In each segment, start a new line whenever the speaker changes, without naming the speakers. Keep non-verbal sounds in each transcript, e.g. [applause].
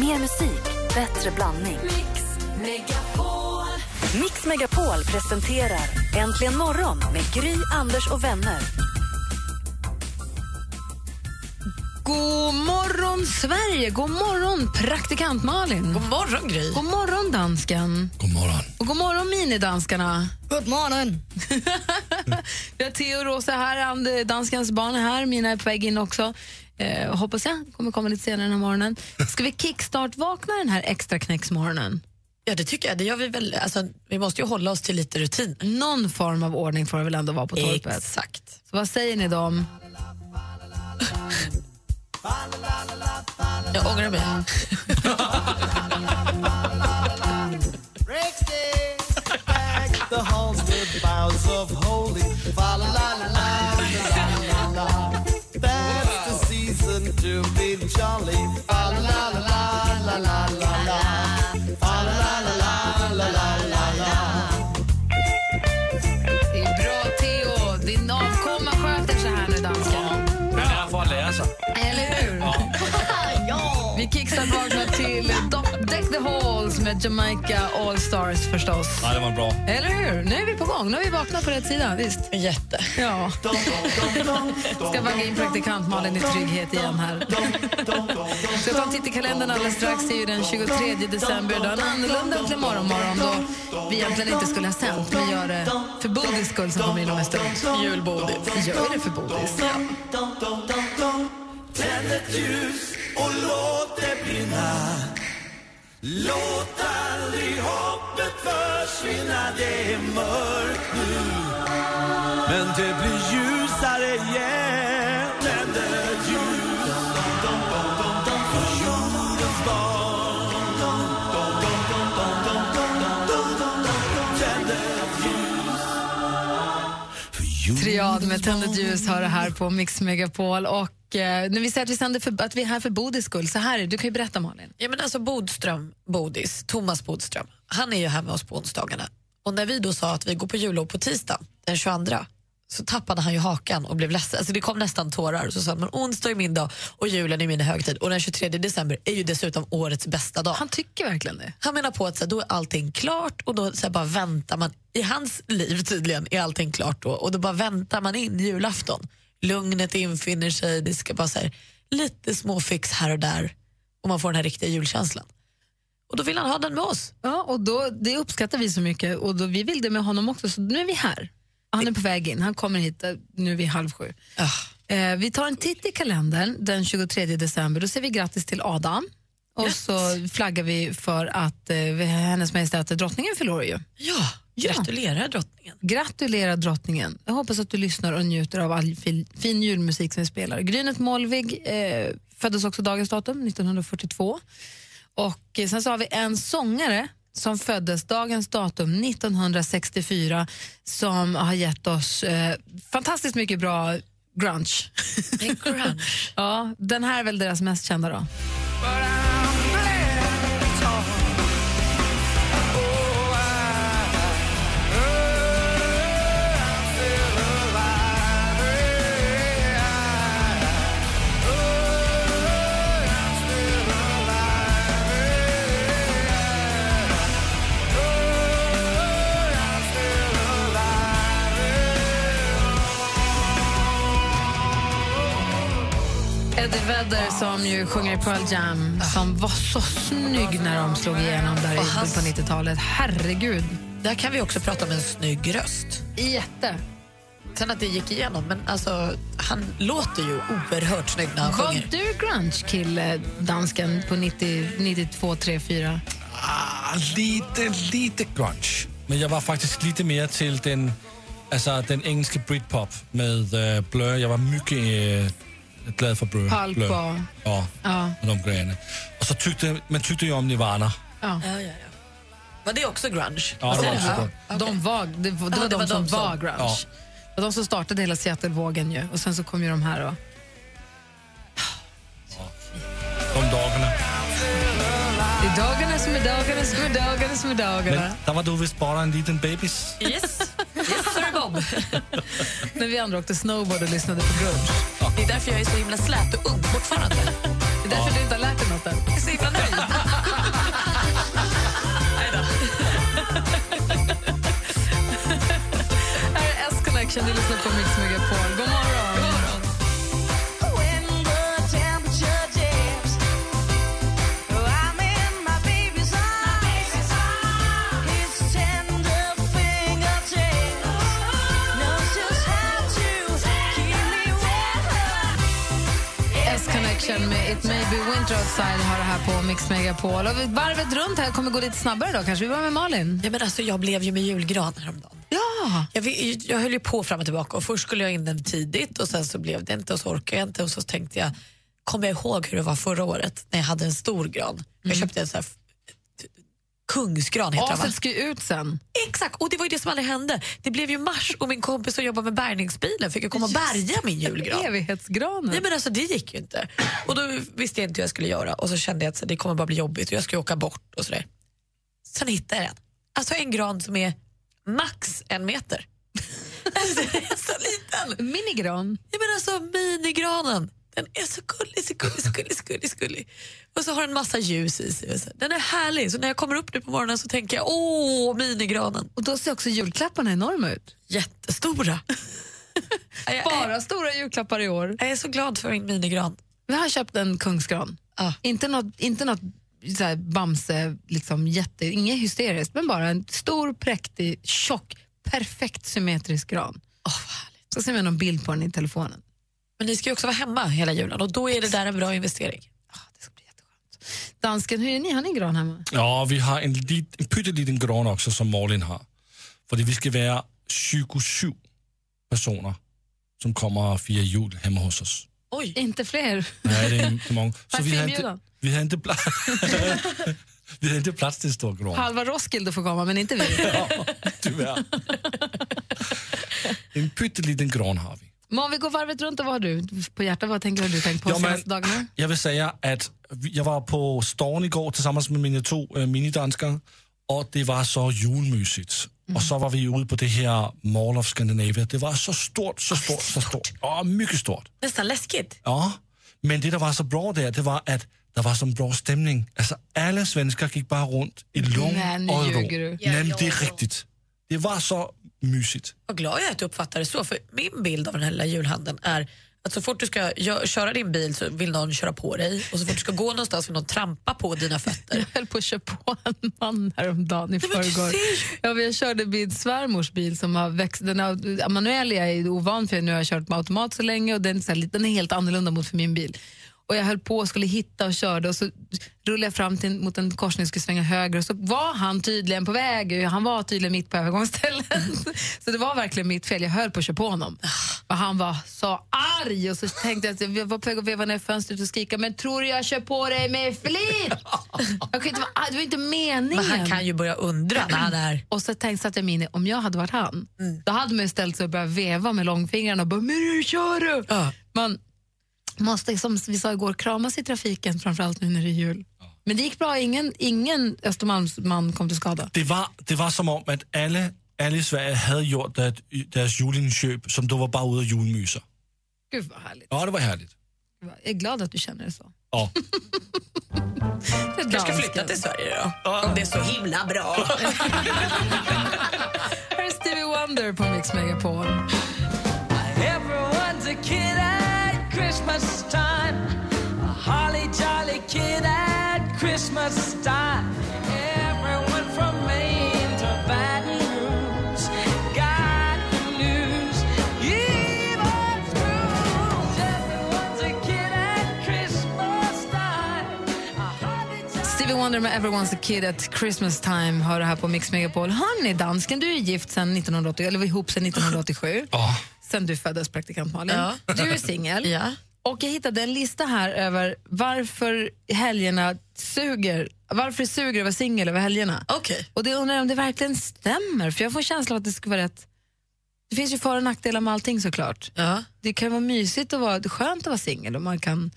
Mer musik, bättre blandning.
Mix Megapol.
Mix Megapol presenterar Äntligen morgon med Gry, Anders och vänner.
God morgon, Sverige! God morgon, praktikant Malin! God,
God morgon, Gry.
morgon, dansken!
God morgon.
Och god morgon, minidanskarna!
God
[laughs]
morgon!
Vi har Theo och Rosa här, and- eh, danskens barn är här, mina är på väg in också. Eh, hoppas jag kommer komma lite senare den här morgonen. Ska vi kickstart-vakna den här extra knäcksmorgonen?
Ja, det tycker jag. Det gör vi väl. Alltså, vi måste ju hålla oss till lite rutin.
Någon form av ordning får det väl ändå vara på torpet?
Exakt.
Så vad säger ni då om...
Jag ångrar mig.
breaks day. [laughs] Back the halls with boughs of holy. Fa la la la la la la la. That's the season to be jolly. Fa la la la la la la la la. Fa la la la la la la la la.
Det är bra, Theo! Din avkomma sköter sig här nu, dansken.
Det är alltså. för att lära sig.
Eller hur? [laughs] Vi kickstartvaknar till Do- Deck the Halls med Jamaica All Stars förstås.
Ja, det var bra.
Eller hur? Nu är vi på gång. Nu har vi vaknat på rätt sida. Visst?
Jätte.
Ja. Ska vagga in praktikant Malin i trygghet igen här. Ska ta en titt i kalendern alldeles strax. Det är ju den 23 december idag. En annorlunda äntligen morgon, morgon då vi egentligen inte skulle ha sänt. Vi gör det för Bodis skull som kommer in om en stund.
Julbodis.
Vi gör det för Bodis.
Tänd ett ljus och låt det brinna. Låt aldrig hoppet försvinna. Det är mörkt nu, men det blir ljusare igen. Tänd ett ljus för jordens barn. Tänd ett ljus för jordens
Triad med Tänd ett ljus har det här på Mix Megapol. Och eh, när vi säger att vi, sänder för, att vi är här för Bodis skull, så här är det. Du kan ju berätta Malin.
Ja, men alltså Bodström, Bodis, Thomas Bodström, han är ju här med oss på onsdagarna. Och när vi då sa att vi går på jullov på tisdag den 22 så tappade han ju hakan och blev ledsen. Alltså det kom nästan tårar. Så sa han, men onsdag är min dag och julen är min högtid. Och den 23 december är ju dessutom årets bästa dag.
Han tycker verkligen det.
Han menar på att så här, då är allting klart och då så här, bara väntar man. I hans liv tydligen är allting klart då och då bara väntar man in julafton. Lugnet infinner sig, det ska bara så här, lite små fix här och där och man får den här riktiga julkänslan. Och då vill han ha den med oss.
Ja, och då, det uppskattar vi så mycket och då, vi vill det med honom också, så nu är vi här. Han är på väg in, han kommer hit eh, nu vid halv sju.
Ah,
Eh, vi tar en titt i kalendern den 23 december, då säger vi grattis till Adam. Och så flaggar vi för att eh, hennes majestät drottningen förlorar ju.
ja, gratulerar drottningen.
Gratulerar drottningen. Jag hoppas att du lyssnar och njuter av all fin, fin julmusik som vi spelar. Grynet Molvig eh, föddes också dagens datum, 1942. Och eh, sen så har vi en sångare som föddes dagens datum 1964 som har gett oss eh, fantastiskt mycket bra grunge.
En grunge.
[laughs] ja, den här är väl deras mest kända då. Eddie Vedder som ju sjunger i Pearl Jam som var så snygg när de slog igenom där i
Och
mitten
hans-
på 90-talet. Herregud,
Där kan vi också prata om en snygg röst.
jätte.
Sen att det gick igenom, men alltså han låter ju oerhört snygg när han
Var
sjunger.
du grunge-kille, dansken, på 90, 92, 3, 4?
Ah, lite, lite grunge. Men jag var faktiskt lite mer till den, alltså, den engelska britpop med eh, Blur. Jag var mycket eh, glad för Blur.
Pulp
Blur.
och-
Ja,
Ja.
och de grejerna. Och så tyckte man tyckte ju om Nirvana.
Ja.
Ja, ja, ja. Var det också grunge?
Ja, det var också grunge.
De var, det var, det
Ja,
var de som var grunge.
Ja.
Det var de som startade hela Seattle-vågen ju. Och sen så kom ju de här. Och...
De dagarna.
Det är dagarna som är dagarna som är dagarna som är dagarna.
Men där var du visst bara en liten bebis.
Yes, yes
[laughs]
sir Bob.
När vi andra åkte snowboard och lyssnade på grunge.
Det är därför jag är så himla slät och ung fortfarande.
Det är därför du inte har lärt dig något än.
Jag är så himla nöjd.
med It May Be Winter Outside har det här på Mix Megapol. Och vi- varvet runt här kommer gå lite snabbare då kanske. Vi börjar med Malin.
[laughs] Ja, men alltså, jag blev ju med julgran häromdagen.
Ja!
Jag, vi- jag höll ju på fram och tillbaka och först skulle jag in den tidigt och sen så blev det inte och så orkade jag inte och så tänkte jag, kommer jag ihåg hur det var förra året när jag hade en stor gran? Jag köpte en sån här f- kungsgran heter den va?
Aset ska ju ut sen.
Exakt, och det var ju det som aldrig hände. Det blev ju mars och min kompis som jobbar med bärgningsbilen fick ju komma och bärga min julgran.
Evighetsgranen.
Nej men alltså det gick ju inte. Och då visste jag inte hur jag skulle göra och så kände jag att så, det kommer bara bli jobbigt och jag ska ju åka bort och sådär. Sen hittade jag den. Alltså en gran som är max en meter. [laughs] alltså den är så liten.
Minigran.
Nej men alltså minigranen. Den är så gullig, så gullig, så gullig, så gullig, så gullig. Och så har den massa ljus i sig. och så. Den är härlig. Så när jag kommer upp nu på morgonen så tänker jag, åh, minigranen.
Och då ser också julklapparna enorma ut.
Jättestora. [laughs] jag, är,
Bara stora julklappar i år.
jag är så glad för min minigran.
Vi har köpt en kungsgran.
Ja.
Inte något, inte något så här Bamse, liksom jätte, inget hysteriskt, men bara en stor, präktig, tjock, perfekt symmetrisk gran. Så ser man någon bild på den i telefonen.
Men ni ska ju också vara hemma hela julen och då är det där en bra investering.
Ah, det ska bli jätteskönt. Dansken, hur är ni? Har ni gran hemma?
Ja, vi har en, lit, en pytteliten gran också, som Malin har. Fordi vi skal være 27 personer, som kommer og firer jul hjemme hos os.
Oj.
Inte fler.
Nej, det er en- det er mange. Så vi har
Parfumbjuderen.
inte, vi har inte, pla- [laughs] vi har inte plats till en stor gran,
Halva Roskilde får komma, men inte
[laughs]
vi.
tyvärr. En pytteliten gran har vi.
Men om vi går varvet runt, och vad har du på hjärtat? Vad tänker du, du tänkt på
Ja,
de
men-
senaste dagarna?
Jeg vil sige, at vi- jeg var på Storn i går tilsammens med mine to øh, minidanskere, og det var så julemysigt. Og så var vi ude på det her Mall of Scandinavia. Det var så stort, så stort, så stort. Og mycket stort.
Nästan läskigt.
Ja, men det, der var så bra der, det var, at der var sådan en bra stemning. Altså, alle svensker gik bare rundt i lån
Nej, nu
og i ro.
ljuger du.
Nej, men det er rigtigt. Det var så mysigt.
Vad glad jag är att du uppfattar det så, för min bild av den här lilla julhandeln är att så fort du ska gö- köra din bil så vill någon köra på dig och så fort du ska gå någonstans vill någon trampa på dina fötter.
Jag höll på att köra på en man häromdagen i
Nej, men du
förrgår.
ser ju.
Ja, men jag körde min svärmors bil som har växt. Den har, manuell är jag ovan för nu har jag kört med automat så länge och den är, så här, lite- den är helt annorlunda mot för min bil. Och jag höll på och skulle hitta och körde och så rullade jag fram till, mot en korsning och skulle svänga höger och så var han tydligen på väg. Han var tydligen mitt på övergångsstället. [laughs] så det var verkligen mitt fel. Jag höll på att köra på honom. Och han var så arg och så tänkte jag att jag var på väg att veva ner fönstret och skrika men tror du jag kör på dig med flit?
[laughs]
Jag kan inte vara arg, det var inte meningen.
Men han kan ju börja undra när han är...
Och så tänkte satte jag mig in i, om jag hade varit han,
Mm.
då hade man ju ställt sig och börjat veva med långfingrarna och bara, men hur kör du?
Ja.
Man måste, liksom, som vi sa igår, kramas i trafiken, framförallt nu när det är jul. Men det gick bra, ingen, ingen Östermalmsman kom till skada.
Det var, det var som om, at alle, alle i Sverige havde gjort der, deres juleindkøb, som du var bare ude af julemyser.
Gud vad härligt.
Ja, det var härligt.
Jag är glad att du känner det så.
Ja.
Jag ska flytta till Sverige då, om det är så himla bra.
Här är Stevie Wonder på Mix Megapol.
Everyone's a kid at Christmas time. A holly jolly kid at Christmas time. Everyone from Maine to Baton Rouge got the news. Even Scrooge. Everyone's a kid at Christmas time. A holly jolly
Stevie Wonder med Everyone's a Kid at Christmas Time har det här på Mix Megapol. Hörni, dansken, du är gift sedan 1980, eller var ihop sedan 1987.
Åh.
Sen du föddes, praktikant Malin.
Ja.
Du är singel.
Ja.
Och jag hittade en lista här över varför helgerna suger. Varför det suger att vara singel över helgerna.
Okej.
Och det undrar jag om det verkligen stämmer, för jag får känslan av att det skulle vara rätt. Det finns ju för och nackdelar med allting såklart.
Ja.
Det kan vara mysigt och vara, skönt att vara singel och man kan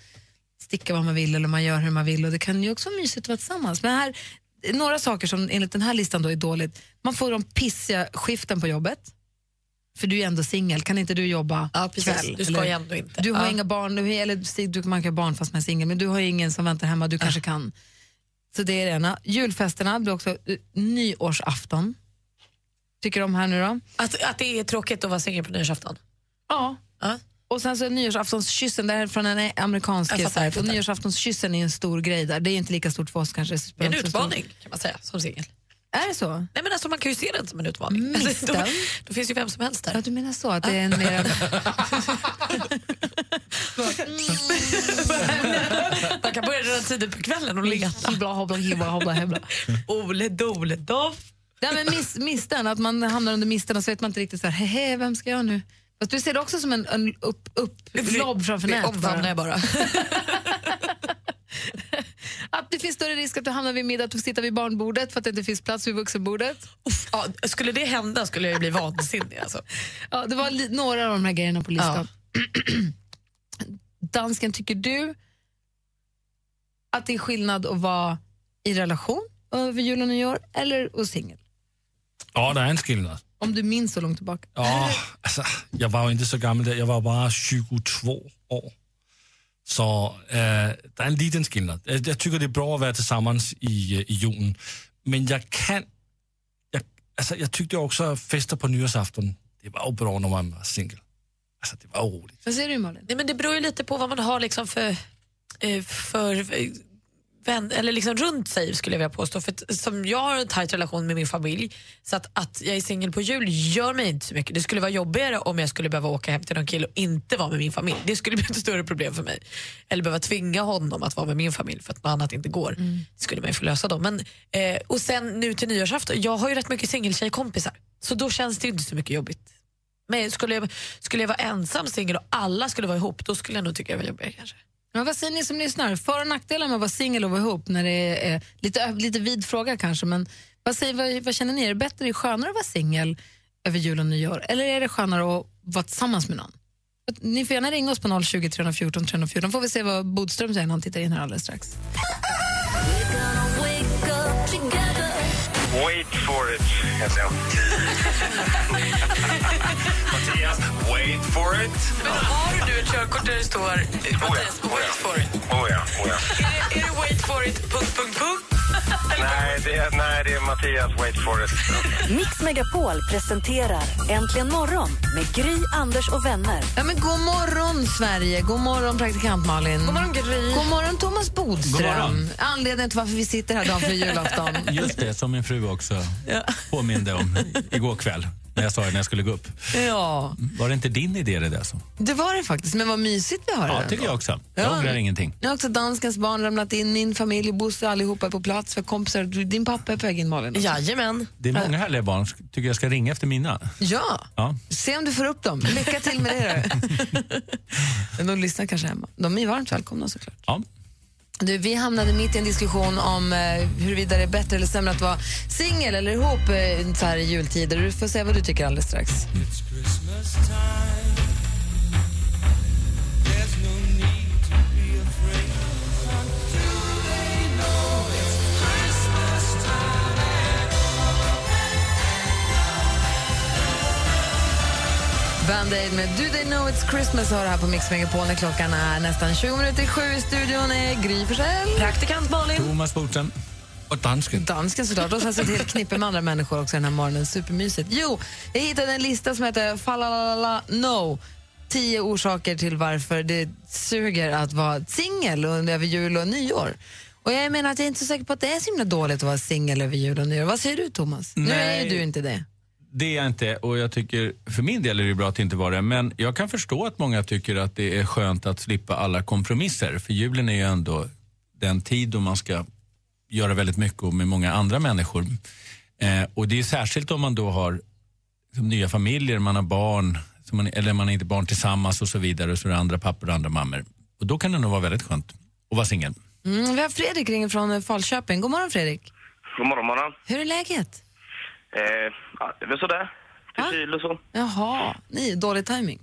sticka vad man vill eller man gör hur man vill och det kan ju också vara mysigt att vara tillsammans. Men här, några saker som enligt den här listan då är dåligt. Man får de pissiga skiften på jobbet. För du är ändå singel, kan inte du jobba
ja, precis.
kväll?
Du ska
eller?
ju ändå inte.
Du har
ja.
inga barn, du, eller Stig, du, man kan ha barn fast man är singel, men du har ju ingen som väntar hemma, du kanske kan. Så det är det ena. Julfesterna blir också eh, nyårsafton. Tycker du om här nu då?
Att, att det är tråkigt att vara singel på nyårsafton.
Ja.
Ja.
Och sen så är nyårsaftonskyssen, det här är från en amerikansk
Jag fattar, jag
sajt, och
fattar.
nyårsaftonskyssen är en stor grej där. Det är inte lika stort för oss kanske. så
Det
spelar
är en
inte så stor-
utmaning kan man säga som singel.
Är det så?
Nej, men alltså, man kan ju se den som en utmaning. Alltså, då,
Misten.
då finns ju vem som helst
Ja,
där.
du menar så, att det är en
Ah.
eh, mer...
Man kan börja redan tidigt på kvällen och ligga.
Hibla, hobla, hibla, hobla,
[laughs]
hibla.
Ole dole doff.
Nej, men miss, misten, att man hamnar under misten och så vet man inte riktigt så här, hehe, vem ska jag nu? Fast du ser det också som en, en upp, upp, lobb framför
Det
nät.
omfamnar
Bara.
jag bara. [laughs]
Att det finns större risk att du hamnar vid middag, att du sitter vid barnbordet för att det inte finns plats vid vuxenbordet.
Uff, ja, skulle det hända skulle jag ju bli vansinnig. Alltså.
Ja, det var li- några av de här grejerna på listan. Dansken, tycker du att det är skillnad att vara i relation över jul och nyår eller och singel?
Ja, det är en skillnad.
Om du minns så långt tillbaka.
Ja, alltså, jag var ju inte så gammal där. Jag var bara 22 år. Så eh, det är en liten skillnad. Jag, jag tycker det är bra att vara tillsammans i, eh, i julen. Men jag kan... Jag, alltså, jag tyckte också att fester på nyårsafton, det var ju bra när man var singel. Alltså, det var roligt.
Vad säger du Malin?
Nej, men det beror ju lite på vad man har liksom för, eh, för eh, vän, eller liksom runt sig skulle jag vilja påstå. För att, som jag har en tajt relation med min familj så att, att jag är singel på jul gör mig inte så mycket. Det skulle vara jobbigare om jag skulle behöva åka hem till någon kille och inte vara med min familj. Det skulle [laughs] bli ett större problem för mig. Eller behöva tvinga honom att vara med min familj för att något annat inte går. Det skulle man ju få lösa då. Men, eh, och sen nu till nyårsafton, jag har ju rätt mycket singeltjejkompisar så då känns det inte så mycket jobbigt. Men skulle jag, skulle jag vara ensam singel och alla skulle vara ihop, då skulle jag nog tycka det var jobbigare kanske.
Men vad säger ni som lyssnar? För och nackdelar med att vara singel och vara ihop? När det är, eh, lite, ö- lite vid fråga kanske, men vad, säger, vad, vad känner ni? Är det bättre, är skönare att vara singel över jul och nyår? Eller är det skönare att vara tillsammans med någon? Att- Ni får gärna ringa oss på 020 314 314. får vi se vad Bodström säger när han tittar in här alldeles strax.
Wait for it, heter jag. Mattias, wait for it.
Har du ett körkort där det står
Mattias, wait for
it?
Oh ja, oh ja.
Är det wait for it? Punkt, punkt, punkt.
Nej, det är, nej, det är Mattias, wait for it.
Mix Megapol presenterar Äntligen morgon med Gry, Anders och vänner.
Ja, men god morgon, Sverige! God morgon, praktikant Malin. God morgon, Gry. God morgon, Thomas Bodström.
God morgon.
Anledningen till varför vi sitter här dagen för julafton.
[laughs] Just det, som min fru också påminde om igår kväll när jag sa det när jag skulle gå upp.
ja,
Var det inte din idé det där? Som?
det var det faktiskt. Men vad mysigt vi har
Ja,
det.
tycker jag också.
Ja.
Jag ångrar ingenting.
Nu har också danskens barn ramlat in, min familj, Bosse, allihopa är på plats, för kompisar, Du- din pappa är på väg in, Malin. också.
Jajamän.
Det är många härliga barn. Tycker jag ska ringa efter mina.
ja.
Ja.
Se om du får upp dem. Lycka till med det då. [laughs] De lyssnar kanske hemma. De är varmt välkomna såklart.
Ja.
Du, vi hamnade mitt i en diskussion om eh, huruvida det är bättre eller sämre att vara singel eller ihop eh, så här i jultider. Du får se vad du tycker alldeles strax. Band-Aid med Do They Know It's Christmas har det här på Mix Megapol när klockan är nästan 20 minuter i sju. I Studion är Gry Forssell.
Praktikant Malin.
Thomas Bodström.
Och dansken.
Dansken såklart. Och sen så ett helt knippe med andra människor också den här morgonen. Supermysigt. Jo, jag hittade en lista som heter Falalala No. Tio orsaker till varför det suger att vara singel under- över jul och nyår. Och jag menar att jag är inte så säker på att det är så himla dåligt att vara singel över jul och nyår. Vad säger du Thomas? Nu är ju
Nej.
du inte det.
Det är jag inte och jag tycker för min del är det bra att inte vara det. Men jag kan förstå att många tycker att det är skönt att slippa alla kompromisser. För julen är ju ändå den tid då man ska göra väldigt mycket och med många andra människor. Eh, och det är ju särskilt om man då har som nya familjer, man har barn, som man, eller man är inte barn tillsammans och så vidare. Och så är det andra pappor och andra mammor. Och då kan det nog vara väldigt skönt att vara singel.
Mm, vi har Fredrik ringen från eh, Falköping. God morgon Fredrik.
God morgon, morgon.
Hur är läget?
Eh, ja, det är väl sådär.
Ja.
Till kyl och så.
Jaha, ni, dålig timing.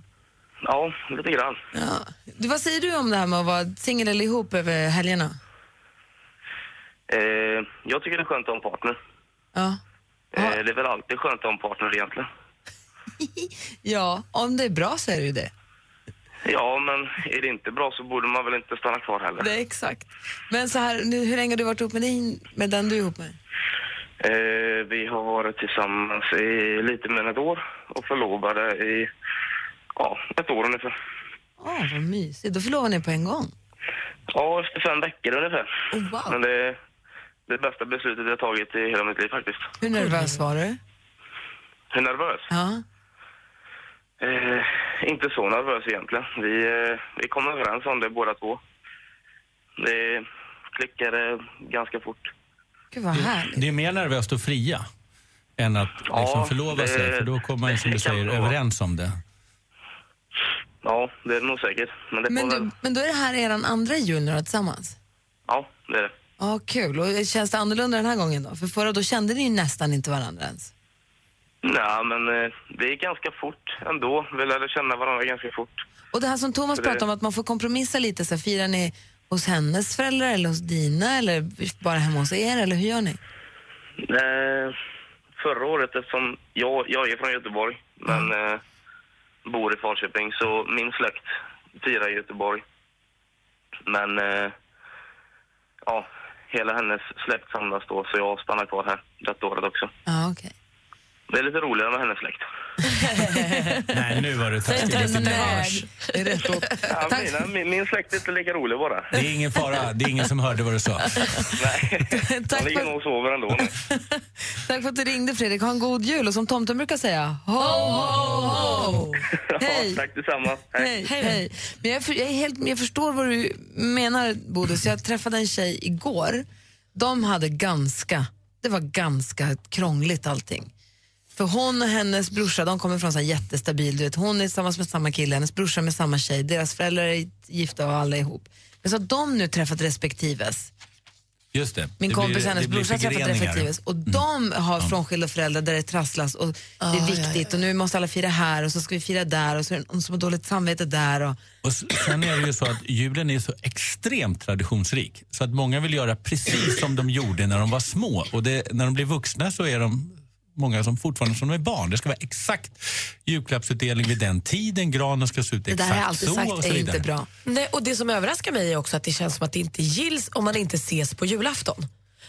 Ja, lite grann.
Ja. Du, vad säger du om det här med att vara singel eller ihop över helgerna?
Eh, jag tycker det är skönt att ha en partner.
Ja.
Eh,
Ja.
det är väl alltid skönt att ha en partner egentligen.
ja, om det är bra så är det ju det.
Ja, men är det inte bra så borde man väl inte stanna kvar heller.
Det är exakt. Men så här, nu, hur länge har du varit ihop med, din, med den du är ihop med?
Eh, vi har varit tillsammans i lite mer än ett år och förlovade i ja, ett år ungefär.
Åh, vad mysigt. Då förlovar ni på en gång.
Ja, efter fem veckor ungefär.
Oh, wow.
Men det, det bästa beslutet jag tagit i hela mitt liv faktiskt.
Hur nervös var du?
Hur nervös?
Ja.
Eh, inte så nervös egentligen. Vi, eh, vi kom överens om det båda två. Det klickade ganska fort.
Gud vad härligt.
Det är mer nervöst att fria än att
Ja,
liksom förlova
det-
sig. För då kommer man ju, som du
det kan
säger,
vara.
överens om det.
Ja, det är det nog säkert. Men det
Men,
var väl...
du, men då är det här er andra jul nu då, tillsammans?
Ja, det är det.
Ja, kul. Och känns det annorlunda den här gången då? För förra då kände ni ju nästan inte varandra ens.
Nej, men eh, det gick ganska fort ändå. Vi lärde känna varandra ganska fort.
Och det här som Thomas
Det-
pratade om, att man får kompromissa lite. Så här, firar ni hos hennes föräldrar eller hos dina eller bara hemma hos er? Eller hur gör ni?
Eh, förra året, eftersom jag, jag är från Göteborg, men
Mm.
eh, bor i Falköping, så min släkt firar i Göteborg. Men eh, ja, hela hennes släkt samlas då, så jag stannar kvar här detta året också.
Ja, okej.
Det är lite roligare med hennes släkt.
Nej, nu var det taskigt.
Alltså,
Det
nej,
hörs.
det är rätt åt.
Ja,
Tack.
mina, min, min släkt är inte lika rolig bara.
Det är ingen fara. Det är ingen som hörde vad du sa.
Nej,
[laughs] Tack
de ligger
för-
nog och sover ändå. nu.
Tack för att du ringde Fredrik. Ha en god jul och som tomten brukar säga, ho, ho, ho! Hej!
Tack detsamma.
Hej, hej. Men jag, för, jag, är helt, jag förstår vad du menar, Bodis. Jag träffade en tjej igår. De hade ganska, det var ganska krångligt allting. För hon och hennes brorsa, de kommer från så här jättestabil, du vet, hon är tillsammans med samma kille, hennes brorsa med samma tjej, deras föräldrar är gifta och alla är ihop. Men så har de nu träffat respektives.
Just det.
Min
det
kompis
blir-
och hennes
det blir
brorsa har träffat
förgreningar. Mm.
respektives och de har frånskilda föräldrar där det trasslas och det är viktigt och nu måste alla fira här och så ska vi fira där och så är det någon som har dåligt samvete där. Och,
Och s- sen är det ju så att julen är så extremt traditionsrik. Så att många vill göra precis som de gjorde när de var små. Och det, när de blir vuxna så är de många som fortfarande som de är barn. Det ska vara exakt julklappsutdelning vid den tiden. Granen ska se ut
det där
exakt
har jag alltid
så och
sagt
så
är
vidare.
inte bra.
Nej, och det som överraskar mig är också att det känns som att det inte gills om man inte ses på julafton.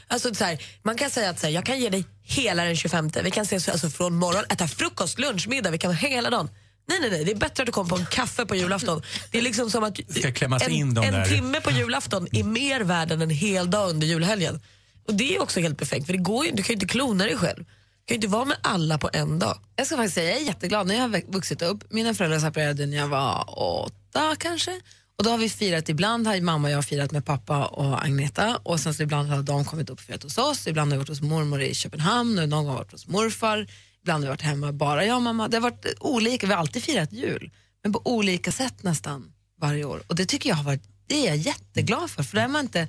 Alltså så här, man kan säga att så här, jag kan ge dig hela den 25, vi kan ses alltså från morgon, äta frukost, lunch, middag, vi kan hänga hela dagen. Nej, nej, nej, det är bättre att du kommer på en kaffe på julafton. Det är liksom som att
Ska klämmas
en,
in de
en
där. Mm.
timme på julafton är mer värd än en hel dag under julhelgen. Och det är också helt perfekt, för det går ju, du kan ju inte klona dig själv. Du kan ju inte vara med alla på en dag.
Jag ska faktiskt säga, jag är jätteglad. När jag har vä- vuxit upp, mina föräldrar separerade när jag var åtta kanske. Och då har vi firat, ibland har ju mamma och jag firat med pappa och Agneta och sen så ibland har de kommit upp och firat hos oss, ibland har vi varit hos mormor i Köpenhamn och någon gång har vi varit hos morfar, ibland har vi varit hemma bara jag och mamma. Det har varit eh, olika, vi har alltid firat jul, men på olika sätt nästan varje år. Och det tycker jag har varit, det är jag jätteglad för, för då är man inte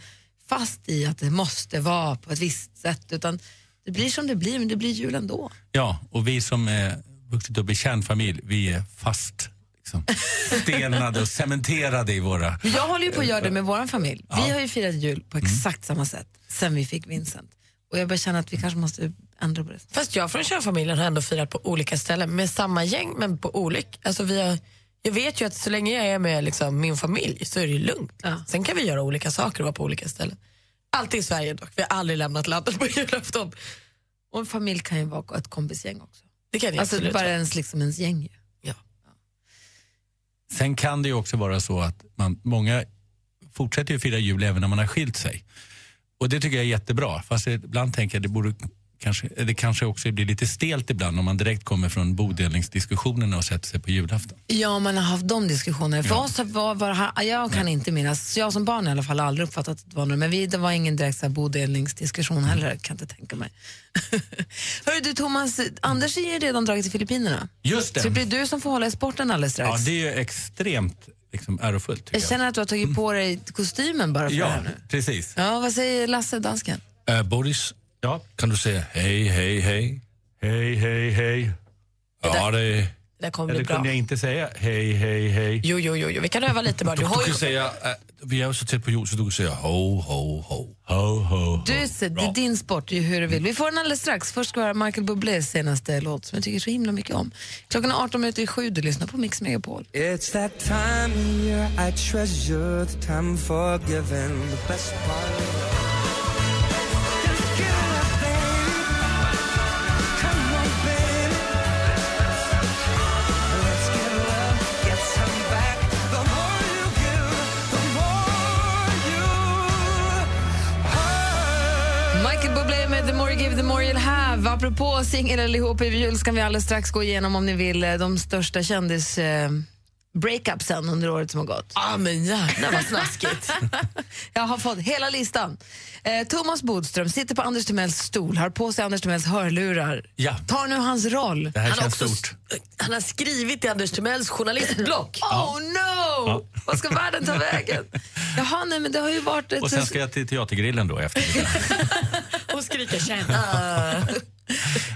fast i att det måste vara på ett visst sätt utan det blir som det blir, men det blir jul ändå.
Ja, och vi som är vuxit upp i kärnfamilj, vi är fast liksom, stenade och cementerade i våra...
Jag håller ju på att göra det med vår familj. Vi har ju firat jul
Mm.
på exakt samma sätt sen vi fick Vincent. Och jag börjar känna att vi kanske måste ändra på det.
Fast jag från kärnfamiljen har ändå firat på olika ställen med samma gäng men på olika. Alltså vi har, jag vet ju att så länge jag är med liksom min familj så är det ju lugnt.
Ja.
Sen kan vi göra olika saker och vara på olika ställen. Alltid i Sverige dock, vi har aldrig lämnat landet på [laughs] julafton.
Och en familj kan ju vara ett kompisgäng också.
Det kan jag
Alltså
absolut.
bara ens, liksom ens gäng ju.
Sen kan det ju också vara så att man, många fortsätter ju fira jul även när man har skilt sig. Och det tycker jag är jättebra. Fast ibland tänker jag det borde kanske, det kanske också blir lite stelt ibland om man direkt kommer från bodelningsdiskussionerna och sätter sig på julafton.
Ja, man har haft de diskussionerna. För oss var, var, ha- jag kan inte minnas, så jag som barn i alla fall har aldrig uppfattat att det var någon, men vi, det var ingen direkt så här bodelningsdiskussion heller, kan jag inte tänka mig. [laughs] Hörru du Thomas, Anders är ju redan dragit till Filippinerna.
Just
Så det
det!
blir du som får hålla i sporten alldeles strax.
Ja, det är ju extremt liksom, ärofullt tycker
Jag
jag.
känner att du har tagit på dig kostymen bara för det
Mm. Ja,
här nu.
precis.
Ja, vad säger Lasse, dansken?
Uh, Boris,
Ja.
kan du säga hej, hej, hej?
Hej, hej, hej.
Ja, det...
Det där kommer bli
Eller
bra.
kunde jag inte säga hej, hej, hej?
Jo, jo, jo, jo, vi kan öva lite bara. Du har
Du
ju...
kan säga, eh, vi är ju så tätt på jul så du kan säga ho, ho, ho.
Ho, ho, ho.
Du, ser, det är din sport, det är hur du vill. Vi får den alldeles strax. Först ska vi höra Michael Bublés senaste låt som jag tycker så himla mycket om. Klockan är 18 minuter i sju, du lyssnar på Mix Megapol.
It's that time of year I treasure the time for giving the best part. Just give it up, babe. Come on, babe. Let's get love, get some back. The more you give, the more you earn.
Michael Bublé med The More You Give, The More You'll Have. Apropå singel eller ihop i jul ska vi alldeles strax gå igenom om ni vill eh, de största kändis eh, breakupsen under året som har gått.
Ja, men gärna vad
[laughs]
snaskigt.
Jag har fått hela listan. Eh, Thomas Bodström sitter på Anders Timells stol, har på sig Anders Timells hörlurar.
Ja.
Tar nu hans roll.
Det här
har
känns
också
stort.
s- han har skrivit i Anders Timells journalistblock.
Oh no! Vad ska världen ta
[laughs]
vägen? Jaha, nej, men det har ju varit... ett-
Och sen ska jag till Teatergrillen då efter
Och skriker
[laughs]
tjena.
Ah.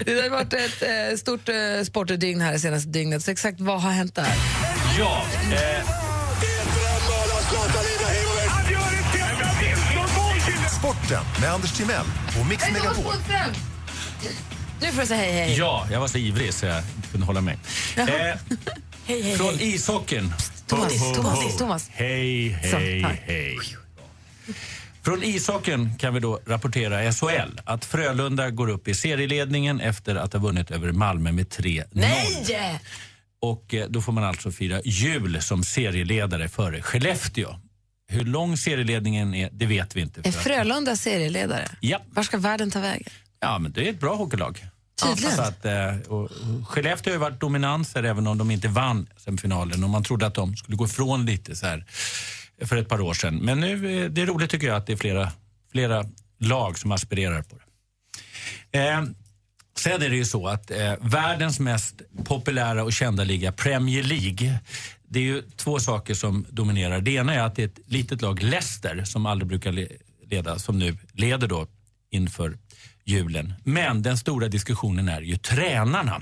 Det har varit ett eh, stort eh, sportdygn här det senaste dygnet, så exakt vad har hänt där?
Ja, eh,
Sporten med Anders Timell och Mix Megapol.
Nu får jag säga hej hej.
ja, jag var så ivrig så jag inte kunde hålla mig. Eh,
Hej, hej,
från
hej.
ishockeyn.
Thomas,
Ho, ho,
Thomas,
ho.
Thomas.
Hej,
Så,
hej,
tack.
hej. Från ishockeyn kan vi då rapportera SHL att Frölunda går upp i serieledningen efter att ha vunnit över Malmö med 3-0.
Nej!
Och eh, då får man alltså fira jul som serieledare före Skellefteå. Hur lång serieledningen är, det vet vi inte.
Är
för att-
Frölunda serieledare?
Ja,
Var ska världen ta vägen?
ja, men det är ett bra hockeylag.
Tydligen.
Så att, eh, och och Skellefteå har ju varit dominanser även om de inte vann semifinalen. Och man trodde att de skulle gå ifrån lite så här för ett par år sedan. Men nu, eh, det är roligt tycker jag att det är flera, flera lag som aspirerar på det. Eh, Sen är det ju så att eh, världens mest populära och kända liga, Premier League, det är ju två saker som dominerar. Det ena är att det är ett litet lag, Leicester, som aldrig brukar le- leda, som nu leder då inför julen. Men den stora diskussionen är ju tränarna.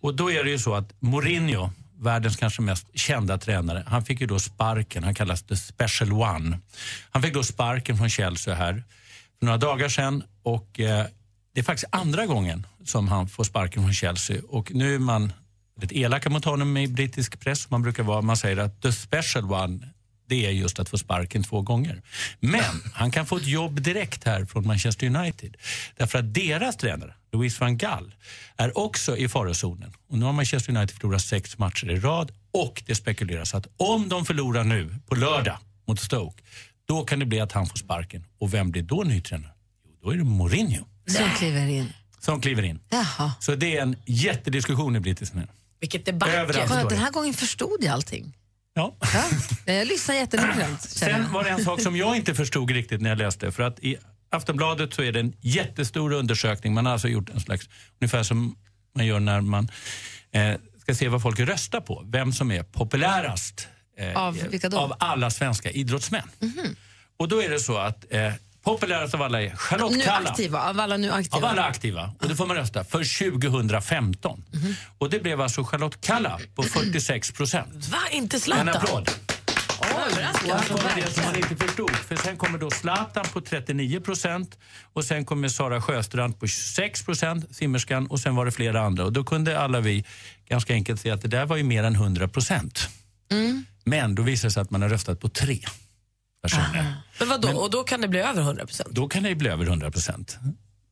Och då är det ju så att Mourinho, världens kanske mest kända tränare, han fick ju då sparken, han kallas the special one. Han fick då sparken från Chelsea här för några dagar sedan och eh, det är faktiskt andra gången som han får sparken från Chelsea. Och nu är man lite elaka mot honom i brittisk press. som Man brukar vara, man säger att the special one, det är just att få sparken två gånger. Men han kan få ett jobb direkt här från Manchester United. Därför att deras tränare, Louis van Gaal, är också i farozonen. Och nu har Manchester United förlorat sex matcher i rad och det spekuleras att om de förlorar nu på lördag mot Stoke, då kan det bli att han får sparken. Och vem blir då ny tränare? Jo, då är det Mourinho
Som kliver in.
som kliver in.
Jaha.
Så det är en jättediskussion i brittisarna.
Vilket debacke.
Kolla,
Överallt. Förstår
den
jag.
här gången förstod jag allting.
Ja.
Ja, Jag lyssnar jättenoggrant. känner jag.
Sen var det en sak som jag inte förstod riktigt när jag läste. För att i Aftonbladet så är det en jättestor undersökning. Man har alltså gjort en slags, ungefär som man gör när man eh, ska se vad folk röstar på. Vem som är populärast eh,
Av vilka då? Mhm.
av alla svenska idrottsmän. Och då är det så att eh, populärast av alla är Charlotte
Nu
Kalla.
aktiva, av alla nu aktiva.
Av alla aktiva. Och det får man rösta för 2015. Och det blev alltså Charlotte Kalla på 46 procent.
Va, inte
En
Zlatan?
applåd. Och här kommer det som man inte förstod. För sen kommer då Zlatan på 39 procent och sen kommer Sara Sjöstrand på 26 procent, simmerskan, och sen var det flera andra. Och då kunde alla vi ganska enkelt se att det där var ju mer än 100 procent. Men då visade det sig att man har röstat på tre personer.
Men vadå, och då kan det bli över 100 procent?
[laughs]
Då kan det ju bli över 100 procent.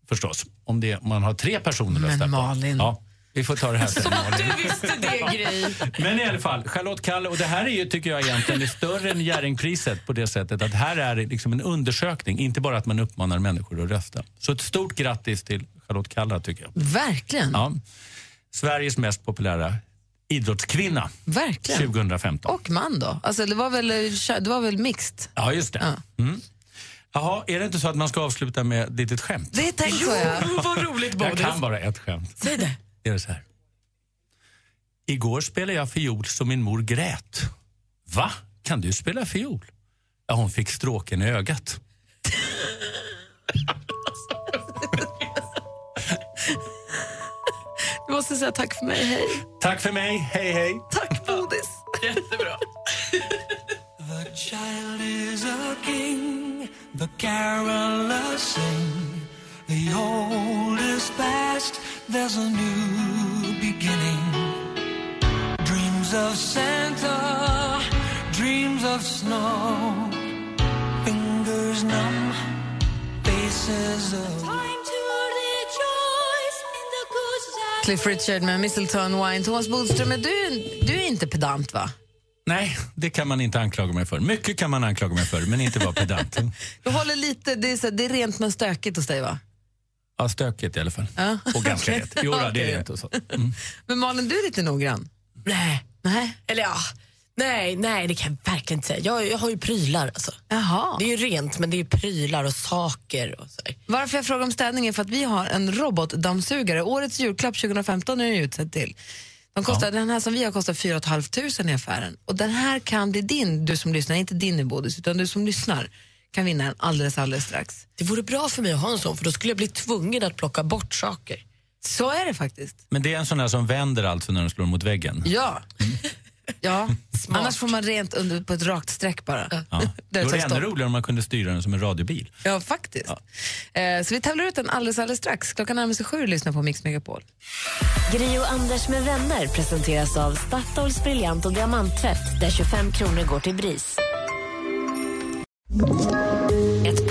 Förstås. Om det, om man har tre personer att
Men
rösta på.
Malin.
Ja, vi får ta det här sen.
[laughs]
Malin.
Du visste det, Gry.
Men i alla fall, Charlotte Kalla, och det här är ju tycker jag egentligen är större än Jerringpriset på det sättet att här är det liksom en undersökning, inte bara att man uppmanar människor att rösta. Så ett stort grattis till Charlotte Kalla tycker jag.
Mm. Verkligen.
Ja. Sveriges mest populära idrottskvinna
Verkligen.
2015.
Och man då? Alltså, det, var väl, eh, det var väl mixed?
Ja, just det. Mm. Jaha, är det inte så att man ska avsluta med ett litet skämt?
Det tänkte jag.
vad roligt,
Jag
Bodis.
kan bara ett skämt.
Säg det.
Det är så här. Igår spelade jag fiol så min mor grät. Va? Kan du spela fiol? Ja, hon fick stråken i ögat.
Du måste säga tack för mig, hej.
Tack för mig. Hej, hej.
Tack Bodis.
Jättebra.
The child is a king, the carolers sing. The old is past, there's a new beginning. Dreams of Santa, dreams of snow. Fingers numb, faces of. Time to rejoice in the good side.
Cliff Richard med Mistletoe and Wine. Thomas Bodström, är du, du är inte pedant va?
Nej, det kan man inte anklaga mig
[laughs]
för. Mycket kan man anklaga mig för, men inte vara pedant.
Du håller lite, det är, så, det är rent men stökigt hos dig va?
Ja, stökigt i alla fall.
[laughs]
Och ganska rätt. Jo, då, det är rätt. Och så. Mm.
Men Malin, du är lite noggrann.
Nej.
Nej.
Eller ja, nej, nej det kan jag verkligen inte säga. Jag, jag har ju prylar alltså.
Jaha.
Det är ju rent men det är ju prylar och saker och sådär.
Varför jag frågar om städning är för att vi har en robotdammsugare. Årets julklapp 2015 är den ju utsedd till. De kostar, Den här som vi har kostar 4 500 i affären. Och den här kan bli din, du som lyssnar, inte din i Bodis, utan du som lyssnar kan vinna den alldeles, alldeles strax.
Det vore bra för mig att ha en sån för då skulle jag bli tvungen att plocka bort saker.
Så är det faktiskt.
Men det är en sån där som vänder alltså när den slår mot väggen.
Ja. [laughs] Ja, annars får man rent under på ett rakt streck bara.
Ja.
Där
Det
det
vore
tar
ännu
stopp.
roligare om man kunde styra den som en radiobil.
Ja, faktiskt. Eh, så vi tävlar ut den alldeles, alldeles strax. Klockan närmar sig sju och lyssnar på Mix Megapol.
Gri och Anders med vänner presenteras av Statoils briljant och diamanttvätt där 25 kronor går till BRIS. Ett